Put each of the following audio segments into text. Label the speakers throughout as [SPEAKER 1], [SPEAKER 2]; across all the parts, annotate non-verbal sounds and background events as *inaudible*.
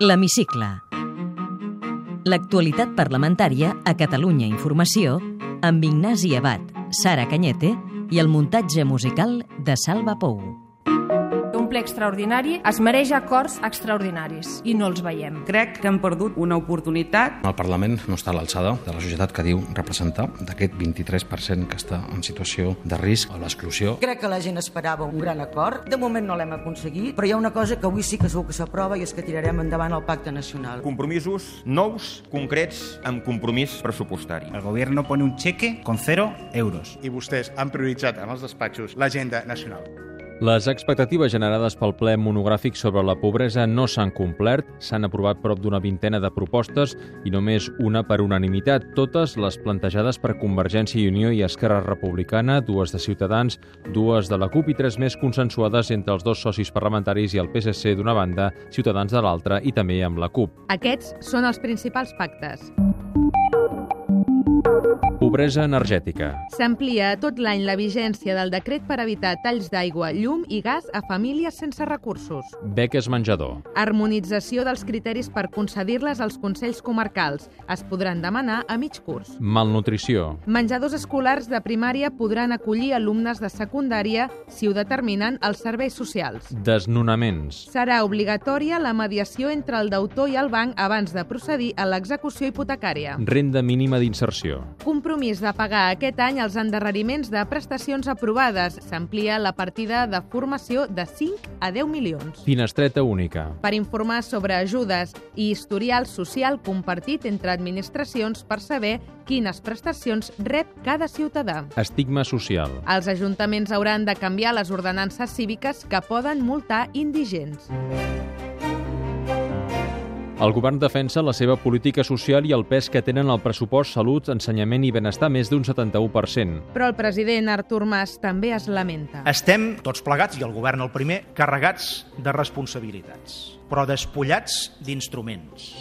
[SPEAKER 1] L'Hemicicle. L'actualitat parlamentària a Catalunya Informació amb Ignasi Abad, Sara Canyete i el muntatge musical de Salva Pou.
[SPEAKER 2] Un ple extraordinari es mereix acords extraordinaris i no els veiem.
[SPEAKER 3] Crec que han perdut una oportunitat.
[SPEAKER 4] El Parlament no està a l'alçada de la societat que diu representar, d'aquest 23% que està en situació de risc o l'exclusió.
[SPEAKER 5] Crec que la gent esperava un gran acord. De moment no l'hem aconseguit, però hi ha una cosa que avui sí que segur que s'aprova i és que tirarem endavant el Pacte Nacional.
[SPEAKER 6] Compromisos nous, concrets, amb compromís pressupostari.
[SPEAKER 7] El gobierno pone un cheque con cero euros.
[SPEAKER 8] I vostès han prioritzat en els despatxos l'agenda nacional.
[SPEAKER 9] Les expectatives generades pel ple monogràfic sobre la pobresa no s'han complert, s'han aprovat prop d'una vintena de propostes i només una per unanimitat, totes les plantejades per Convergència i Unió i Esquerra Republicana, dues de Ciutadans, dues de la CUP i tres més consensuades entre els dos socis parlamentaris i el PSC d'una banda, Ciutadans de l'altra i també amb la CUP.
[SPEAKER 10] Aquests són els principals pactes.
[SPEAKER 9] Pobresa energètica.
[SPEAKER 10] S'amplia tot l'any la vigència del decret per evitar talls d'aigua, llum i gas a famílies sense recursos.
[SPEAKER 9] Beques menjador.
[SPEAKER 10] Harmonització dels criteris per concedir-les als Consells Comarcals. Es podran demanar a mig curs.
[SPEAKER 9] Malnutrició.
[SPEAKER 10] Menjadors escolars de primària podran acollir alumnes de secundària si ho determinen els serveis socials.
[SPEAKER 9] Desnonaments.
[SPEAKER 10] Serà obligatòria la mediació entre el deutor i el banc abans de procedir a l'execució hipotecària.
[SPEAKER 9] Renda mínima d'inserció.
[SPEAKER 10] Compromís de pagar aquest any els endarreriments de prestacions aprovades. S'amplia la partida de formació de 5 a 10 milions.
[SPEAKER 9] Finestreta única.
[SPEAKER 10] Per informar sobre ajudes i historial social compartit entre administracions per saber quines prestacions rep cada ciutadà.
[SPEAKER 9] Estigma social.
[SPEAKER 10] Els ajuntaments hauran de canviar les ordenances cíviques que poden multar indigents.
[SPEAKER 9] El govern defensa la seva política social i el pes que tenen el pressupost salut, ensenyament i benestar més d'un 71%.
[SPEAKER 10] Però el president Artur Mas també es lamenta.
[SPEAKER 11] Estem, tots plegats, i el govern el primer, carregats de responsabilitats, però despullats d'instruments.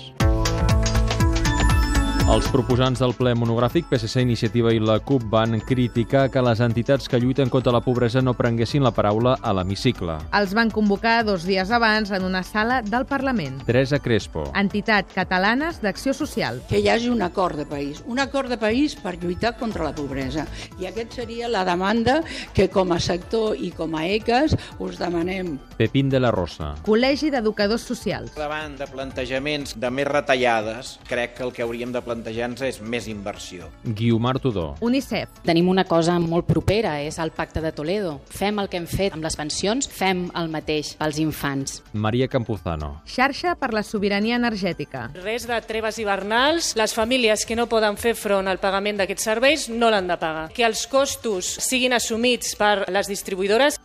[SPEAKER 9] Els proposants del ple monogràfic PSC, Iniciativa i la CUP van criticar que les entitats que lluiten contra la pobresa no prenguessin la paraula a l'hemicicle.
[SPEAKER 10] Els van convocar dos dies abans en una sala del Parlament.
[SPEAKER 9] Teresa Crespo.
[SPEAKER 10] Entitat Catalanes d'Acció Social.
[SPEAKER 12] Que hi hagi un acord de país, un acord de país per lluitar contra la pobresa. I aquest seria la demanda que com a sector i com a ECAS us demanem.
[SPEAKER 9] Pepín de la Rosa.
[SPEAKER 10] Col·legi d'Educadors Socials.
[SPEAKER 13] Davant de plantejaments de més retallades, crec que el que hauríem de plantejar plantejant-se és més inversió.
[SPEAKER 9] Guiomar Tudó.
[SPEAKER 10] UNICEF.
[SPEAKER 14] Tenim una cosa molt propera, és el Pacte de Toledo. Fem el que hem fet amb les pensions, fem el mateix als infants.
[SPEAKER 9] Maria Campuzano.
[SPEAKER 10] Xarxa per la sobirania energètica.
[SPEAKER 15] Res de treves hivernals. Les famílies que no poden fer front al pagament d'aquests serveis no l'han de pagar. Que els costos siguin assumits per les distribuïdores.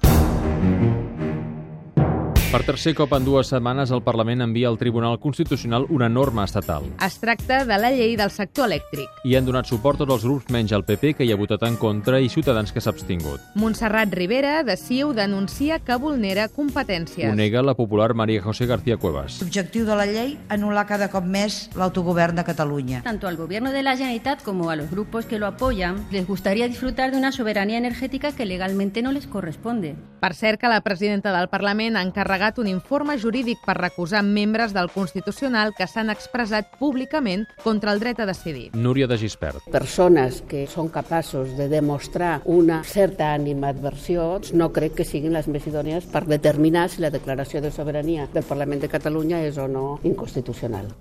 [SPEAKER 9] Per tercer cop en dues setmanes, el Parlament envia al Tribunal Constitucional una norma estatal.
[SPEAKER 10] Es tracta de la llei del sector elèctric.
[SPEAKER 9] Hi han donat suport tots els grups menys el PP, que hi ha votat en contra, i Ciutadans, que s'ha abstingut.
[SPEAKER 10] Montserrat Rivera, de CiU, denuncia que vulnera competències.
[SPEAKER 9] Ho nega la popular Maria José García Cuevas.
[SPEAKER 16] L'objectiu de la llei, anul·lar cada cop més l'autogovern de Catalunya.
[SPEAKER 17] Tanto al gobierno de la Generalitat como a los grupos que lo apoyan, les gustaría disfrutar de una soberanía energética que legalmente no les corresponde.
[SPEAKER 10] Per cert, que la presidenta del Parlament ha encarregat encarregat un informe jurídic per recusar membres del Constitucional que s'han expressat públicament contra el dret a decidir.
[SPEAKER 9] Núria de Gispert.
[SPEAKER 18] Persones que són capaços de demostrar una certa animadversió no crec que siguin les més idònies per determinar si la declaració de sobirania del Parlament de Catalunya és o no inconstitucional.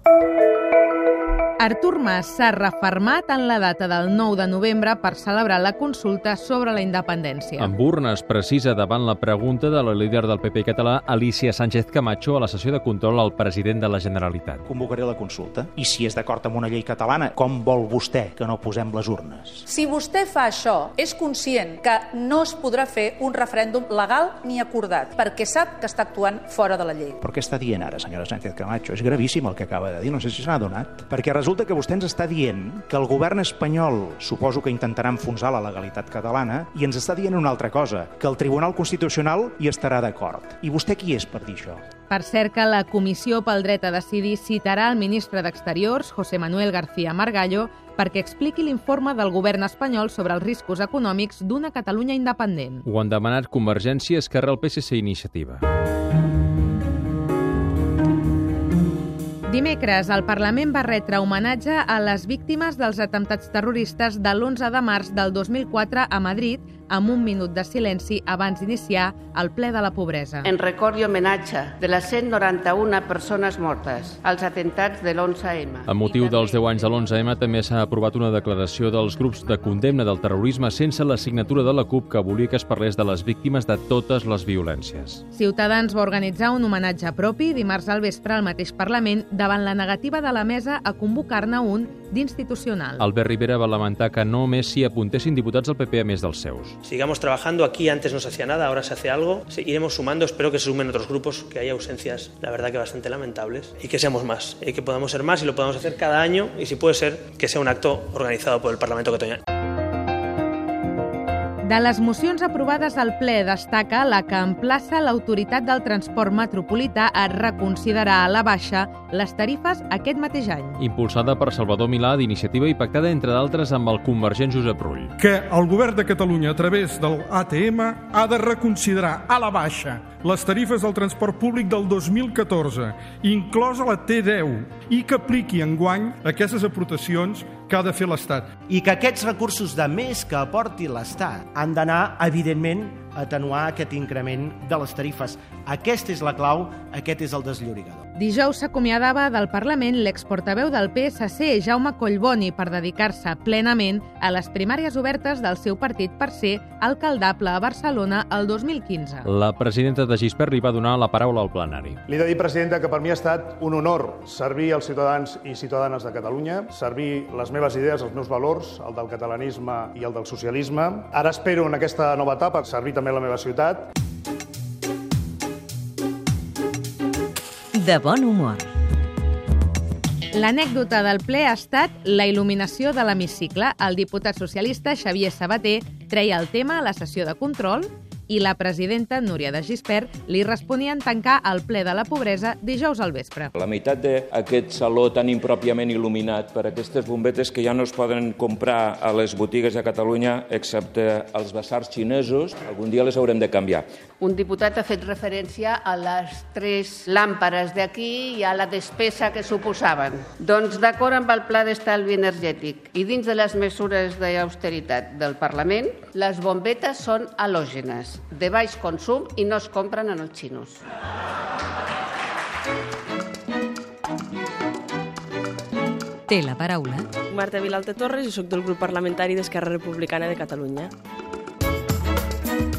[SPEAKER 10] Artur Mas s'ha refermat en la data del 9 de novembre per celebrar la consulta sobre la independència.
[SPEAKER 9] En urnes precisa davant la pregunta de la líder del PP català, Alicia Sánchez Camacho, a la sessió de control al president de la Generalitat.
[SPEAKER 7] Convocaré la consulta i si és d'acord amb una llei catalana, com vol vostè que no posem les urnes?
[SPEAKER 19] Si vostè fa això, és conscient que no es podrà fer un referèndum legal ni acordat, perquè sap que està actuant fora de la llei.
[SPEAKER 7] Però què està dient ara, senyora Sánchez Camacho? És gravíssim el que acaba de dir, no sé si s'ha adonat. Perquè resulta resulta que vostè ens està dient que el govern espanyol suposo que intentarà enfonsar la legalitat catalana i ens està dient una altra cosa, que el Tribunal Constitucional hi estarà d'acord. I vostè qui és per dir això?
[SPEAKER 10] Per cert que la Comissió pel Dret a Decidir citarà el ministre d'Exteriors, José Manuel García Margallo, perquè expliqui l'informe del govern espanyol sobre els riscos econòmics d'una Catalunya independent.
[SPEAKER 9] Ho han demanat Convergència, Esquerra, el PSC i Iniciativa.
[SPEAKER 20] Dimecres, el Parlament va retre homenatge a les víctimes dels atemptats terroristes de l'11 de març del 2004 a Madrid amb un minut de silenci abans d'iniciar el ple de la pobresa.
[SPEAKER 21] En record i homenatge de les 191 persones mortes als atentats de l'11M.
[SPEAKER 9] A motiu dels 10 anys de l'11M també s'ha aprovat una declaració dels grups de condemna del terrorisme sense la signatura de la CUP que volia que es parlés de les víctimes de totes les violències.
[SPEAKER 20] Ciutadans va organitzar un homenatge propi dimarts al vespre al mateix Parlament davant la negativa de la mesa a convocar-ne un d'institucional.
[SPEAKER 9] Albert Rivera va lamentar que només s'hi apuntessin diputats del PP a més dels seus.
[SPEAKER 22] Sigamos trabajando aquí, antes no se hacía nada, ahora se hace algo. Iremos sumando, espero que se sumen otros grupos, que haya ausencias, la verdad que bastante lamentables, y que seamos más, y que podamos ser más y lo podamos hacer cada año, y si puede ser, que sea un acto organizado por el Parlamento Cataluña.
[SPEAKER 20] De les mocions aprovades al ple destaca la que emplaça l'autoritat del transport metropolità a reconsiderar a la baixa les tarifes aquest mateix any.
[SPEAKER 9] Impulsada per Salvador Milà d'iniciativa i pactada, entre d'altres, amb el convergent Josep Rull.
[SPEAKER 23] que el govern de Catalunya, a través del ATM, ha de reconsiderar a la baixa les tarifes del transport públic del 2014, inclosa la T10, i que apliqui enguany aquestes aportacions que ha de fer l'Estat.
[SPEAKER 24] I que aquests recursos de més que aporti l'Estat han d'anar, evidentment, a atenuar aquest increment de les tarifes. Aquesta és la clau, aquest és el desllorigador.
[SPEAKER 20] Dijous s'acomiadava del Parlament l'exportaveu del PSC, Jaume Collboni, per dedicar-se plenament a les primàries obertes del seu partit per ser alcaldable a Barcelona el 2015.
[SPEAKER 9] La presidenta de Gispert li va donar la paraula al plenari.
[SPEAKER 25] Li he de dir, presidenta, que per mi ha estat un honor servir els ciutadans i ciutadanes de Catalunya, servir les meves idees, els meus valors, el del catalanisme i el del socialisme. Ara espero, en aquesta nova etapa, servir també la meva ciutat.
[SPEAKER 1] De bon humor.
[SPEAKER 20] L'anècdota del ple ha estat la il·luminació de l'hemicicle. El diputat socialista Xavier Sabater treia el tema a la sessió de control i la presidenta Núria de Gispert li responia en tancar el ple de la pobresa dijous al vespre.
[SPEAKER 26] La meitat d'aquest saló tan impròpiament il·luminat per aquestes bombetes que ja no es poden comprar a les botigues de Catalunya excepte als basars xinesos, algun dia les haurem de canviar.
[SPEAKER 18] Un diputat ha fet referència a les tres làmperes d'aquí i a la despesa que suposaven. Doncs d'acord amb el Pla d'Estalvi Energètic i dins de les mesures d'austeritat del Parlament, les bombetes són halògenes de baix consum i no es compren en els xinos.
[SPEAKER 1] Té la paraula
[SPEAKER 10] Marta Vilalta Torres i sóc del grup parlamentari d'Esquerra Republicana de Catalunya.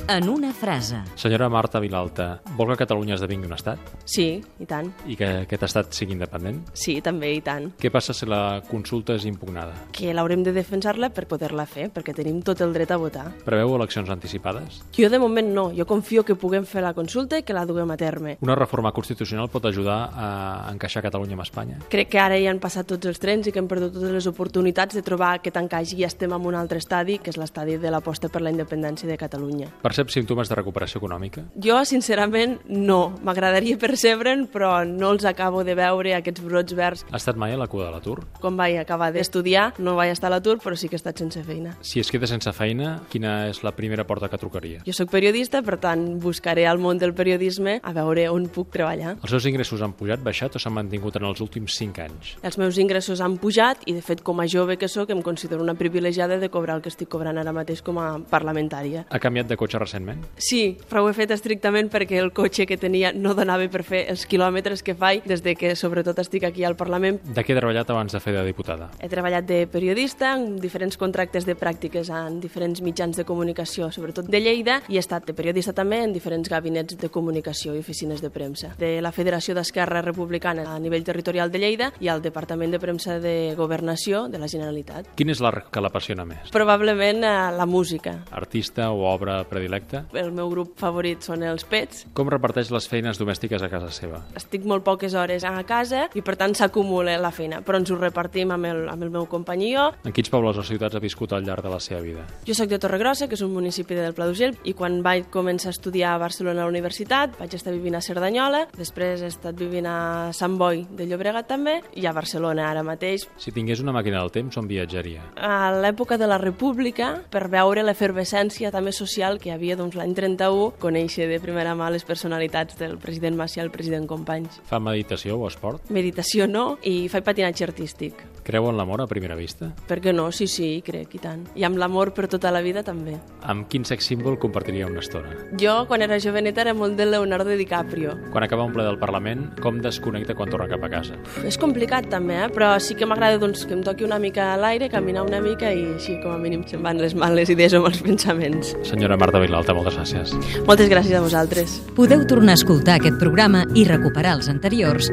[SPEAKER 1] en una frase.
[SPEAKER 9] Senyora Marta Vilalta, vol que Catalunya esdevingui un estat
[SPEAKER 10] Sí, i tant.
[SPEAKER 9] i que aquest estat sigui independent?
[SPEAKER 10] Sí, també, i tant.
[SPEAKER 9] Què passa si la consulta és impugnada?
[SPEAKER 10] Que l'haurem de defensar-la per poder-la fer, perquè tenim tot el dret a votar.
[SPEAKER 9] Preveu eleccions anticipades?
[SPEAKER 10] Jo de moment no, jo confio que puguem fer la consulta i que la duguem a terme.
[SPEAKER 9] Una reforma constitucional pot ajudar a encaixar Catalunya amb Espanya?
[SPEAKER 10] Crec que ara ja han passat tots els trens i que hem perdut totes les oportunitats de trobar aquest encaix i ja estem en un altre estadi, que és l'estadi de l'aposta per la independència de Catalunya.
[SPEAKER 9] Percep símptomes de recuperació econòmica?
[SPEAKER 10] Jo, sincerament, no. M'agradaria percebre'n, però no els acabo de veure, aquests brots verds.
[SPEAKER 9] Ha estat mai a la cua de l'atur?
[SPEAKER 10] Quan vaig acabar d'estudiar, no vaig estar a l'atur, però sí que he estat sense feina.
[SPEAKER 9] Si es queda sense feina, quina és la primera porta que trucaria?
[SPEAKER 10] Jo sóc periodista, per tant, buscaré al món del periodisme a veure on puc treballar.
[SPEAKER 9] Els seus ingressos han pujat, baixat o s'han mantingut en els últims 5 anys?
[SPEAKER 10] Els meus ingressos han pujat i, de fet, com a jove que sóc, em considero una privilegiada de cobrar el que estic cobrant ara mateix com a parlamentària.
[SPEAKER 9] Ha canviat de cotxe recentment?
[SPEAKER 10] Sí, però ho he fet estrictament perquè el cotxe que tenia no donava per fer els quilòmetres que faig des de que, sobretot, estic aquí al Parlament.
[SPEAKER 9] De què ha treballat abans de fer de diputada?
[SPEAKER 10] He treballat de periodista, en diferents contractes de pràctiques en diferents mitjans de comunicació, sobretot de Lleida, i he estat de periodista també en diferents gabinets de comunicació i oficines de premsa. De la Federació d'Esquerra Republicana a nivell territorial de Lleida i al Departament de Premsa de Governació de la Generalitat.
[SPEAKER 9] Quina és l'art que l'apassiona més?
[SPEAKER 10] Probablement eh, la música.
[SPEAKER 9] Artista o obra predilecta?
[SPEAKER 10] El meu grup favorit són els Pets.
[SPEAKER 9] Com reparteix les feines domèstiques a casa seva?
[SPEAKER 10] Estic molt poques hores a casa i, per tant, s'acumula la feina, però ens ho repartim amb el, amb el meu company i jo.
[SPEAKER 9] En quins pobles o ciutats ha viscut al llarg de la seva vida?
[SPEAKER 10] Jo sóc de Torregrossa, que és un municipi del Pla d'Urgell, i quan vaig començar a estudiar a Barcelona a la universitat vaig estar vivint a Cerdanyola, després he estat vivint a Sant Boi de Llobregat també, i a Barcelona ara mateix.
[SPEAKER 9] Si tingués una màquina del temps, on viatjaria?
[SPEAKER 10] A l'època de la República, per veure l'efervescència també social que hi havia devia doncs, l'any 31 conèixer de primera mà les personalitats del president Macià i el president Companys.
[SPEAKER 9] Fa meditació o esport?
[SPEAKER 10] Meditació no, i faig patinatge artístic.
[SPEAKER 9] Creu en l'amor a primera vista?
[SPEAKER 10] Per què no? Sí, sí, crec, i tant. I amb l'amor per tota la vida també.
[SPEAKER 9] Amb quin sex símbol compartiria una estona?
[SPEAKER 10] Jo, quan era joveneta, era molt de Leonardo DiCaprio.
[SPEAKER 9] Quan acaba un ple del Parlament, com desconnecta quan torna cap a casa?
[SPEAKER 10] Uf, És complicat també, eh? però sí que m'agrada doncs, que em toqui una mica a l'aire, caminar una mica i així com a mínim se'n van les males idees o els *laughs* pensaments.
[SPEAKER 9] Senyora Marta Vilalta, moltes gràcies.
[SPEAKER 10] Moltes gràcies a vosaltres.
[SPEAKER 1] Podeu tornar a escoltar aquest programa i recuperar els anteriors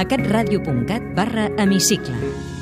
[SPEAKER 1] a catradio.cat barra hemicicle.